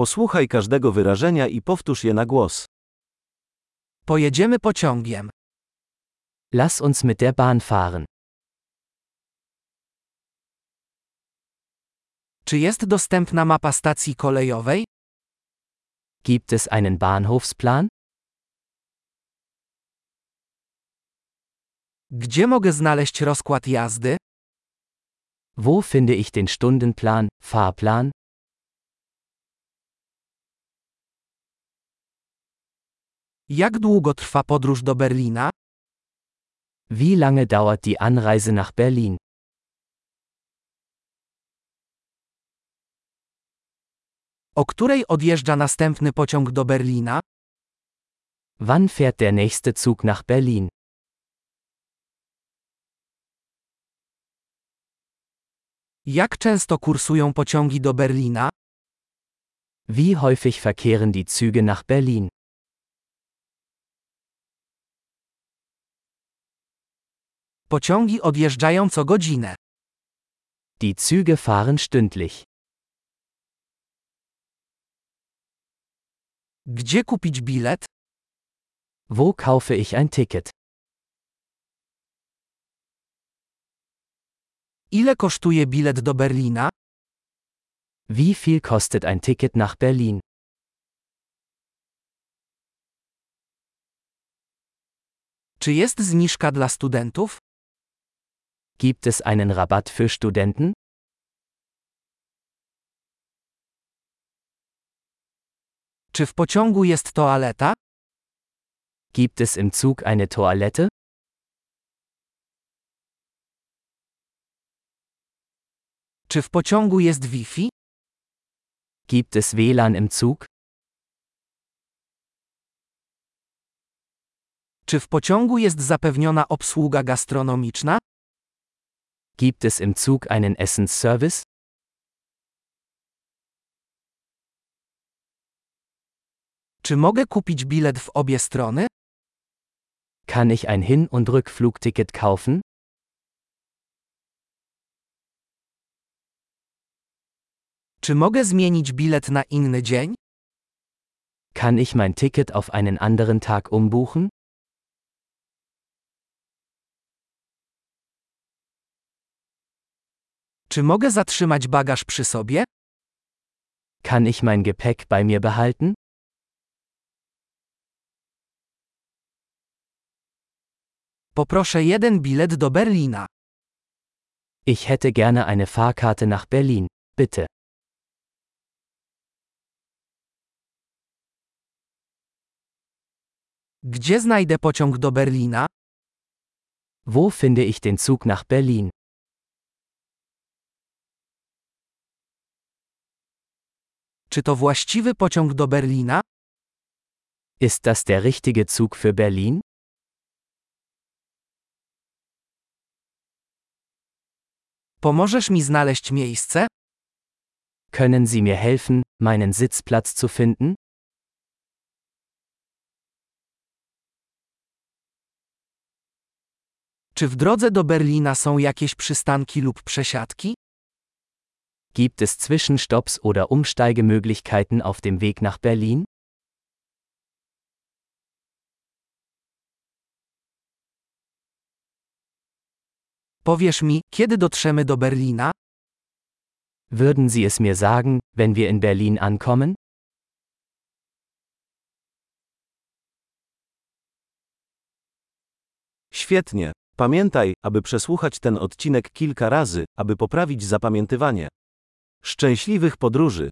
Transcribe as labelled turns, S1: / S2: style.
S1: Posłuchaj każdego wyrażenia i powtórz je na głos.
S2: Pojedziemy pociągiem.
S3: Lass uns mit der Bahn fahren.
S2: Czy jest dostępna mapa stacji kolejowej?
S3: Gibt es einen Bahnhofsplan?
S2: Gdzie mogę znaleźć rozkład jazdy?
S3: Wo finde ich den Stundenplan, Fahrplan?
S2: Jak długo trwa podróż do Berlina?
S3: Wie lange dauert die Anreise nach Berlin?
S2: O której odjeżdża następny pociąg do Berlina?
S3: Wann fährt der nächste Zug nach Berlin?
S2: Jak często kursują pociągi do Berlina?
S3: Wie häufig verkehren die Züge nach Berlin?
S2: Pociągi odjeżdżają co godzinę.
S3: Die Züge fahren stündlich.
S2: Gdzie kupić bilet?
S3: Wo kaufe ich ein Ticket?
S2: Ile kosztuje bilet do Berlina?
S3: Wie viel kostet ein Ticket nach Berlin?
S2: Czy jest zniżka dla studentów?
S3: Gibt es einen Rabatt für Studenten?
S2: Czy w pociągu jest toaleta?
S3: Gibt es im Zug eine Toilette?
S2: Czy w pociągu jest Wi-Fi?
S3: Gibt es WLAN im Zug?
S2: Czy w pociągu jest zapewniona obsługa gastronomiczna?
S3: Gibt es im Zug einen Essensservice?
S2: Czy mogę kupić bilet w obie strony?
S3: Kann ich ein Hin- und Rückflugticket kaufen?
S2: Czy mogę zmienić bilet na inny dzień?
S3: Kann ich mein Ticket auf einen anderen Tag umbuchen?
S2: Czy mogę zatrzymać bagaż przy sobie?
S3: Kann ich mein Gepäck bei mir behalten?
S2: Poproszę jeden bilet do Berlina.
S3: Ich hätte gerne eine Fahrkarte nach Berlin, bitte.
S2: Gdzie znajdę pociąg do Berlina?
S3: Wo finde ich den Zug nach Berlin?
S2: Czy to właściwy pociąg do Berlina?
S3: Ist das der richtige Zug für Berlin?
S2: Pomożesz mi znaleźć miejsce?
S3: Können Sie mir helfen, meinen Sitzplatz zu finden?
S2: Czy w drodze do Berlina są jakieś przystanki lub przesiadki?
S3: Gibt es Zwischenstopps oder Umsteigemöglichkeiten auf dem Weg nach Berlin?
S2: Powiesz mi, kiedy dotrzemy do Berlina?
S3: Würden Sie es mir sagen, wenn wir in Berlin ankommen?
S1: Świetnie. Pamiętaj, aby przesłuchać ten odcinek kilka razy, aby poprawić zapamiętywanie. Szczęśliwych podróży!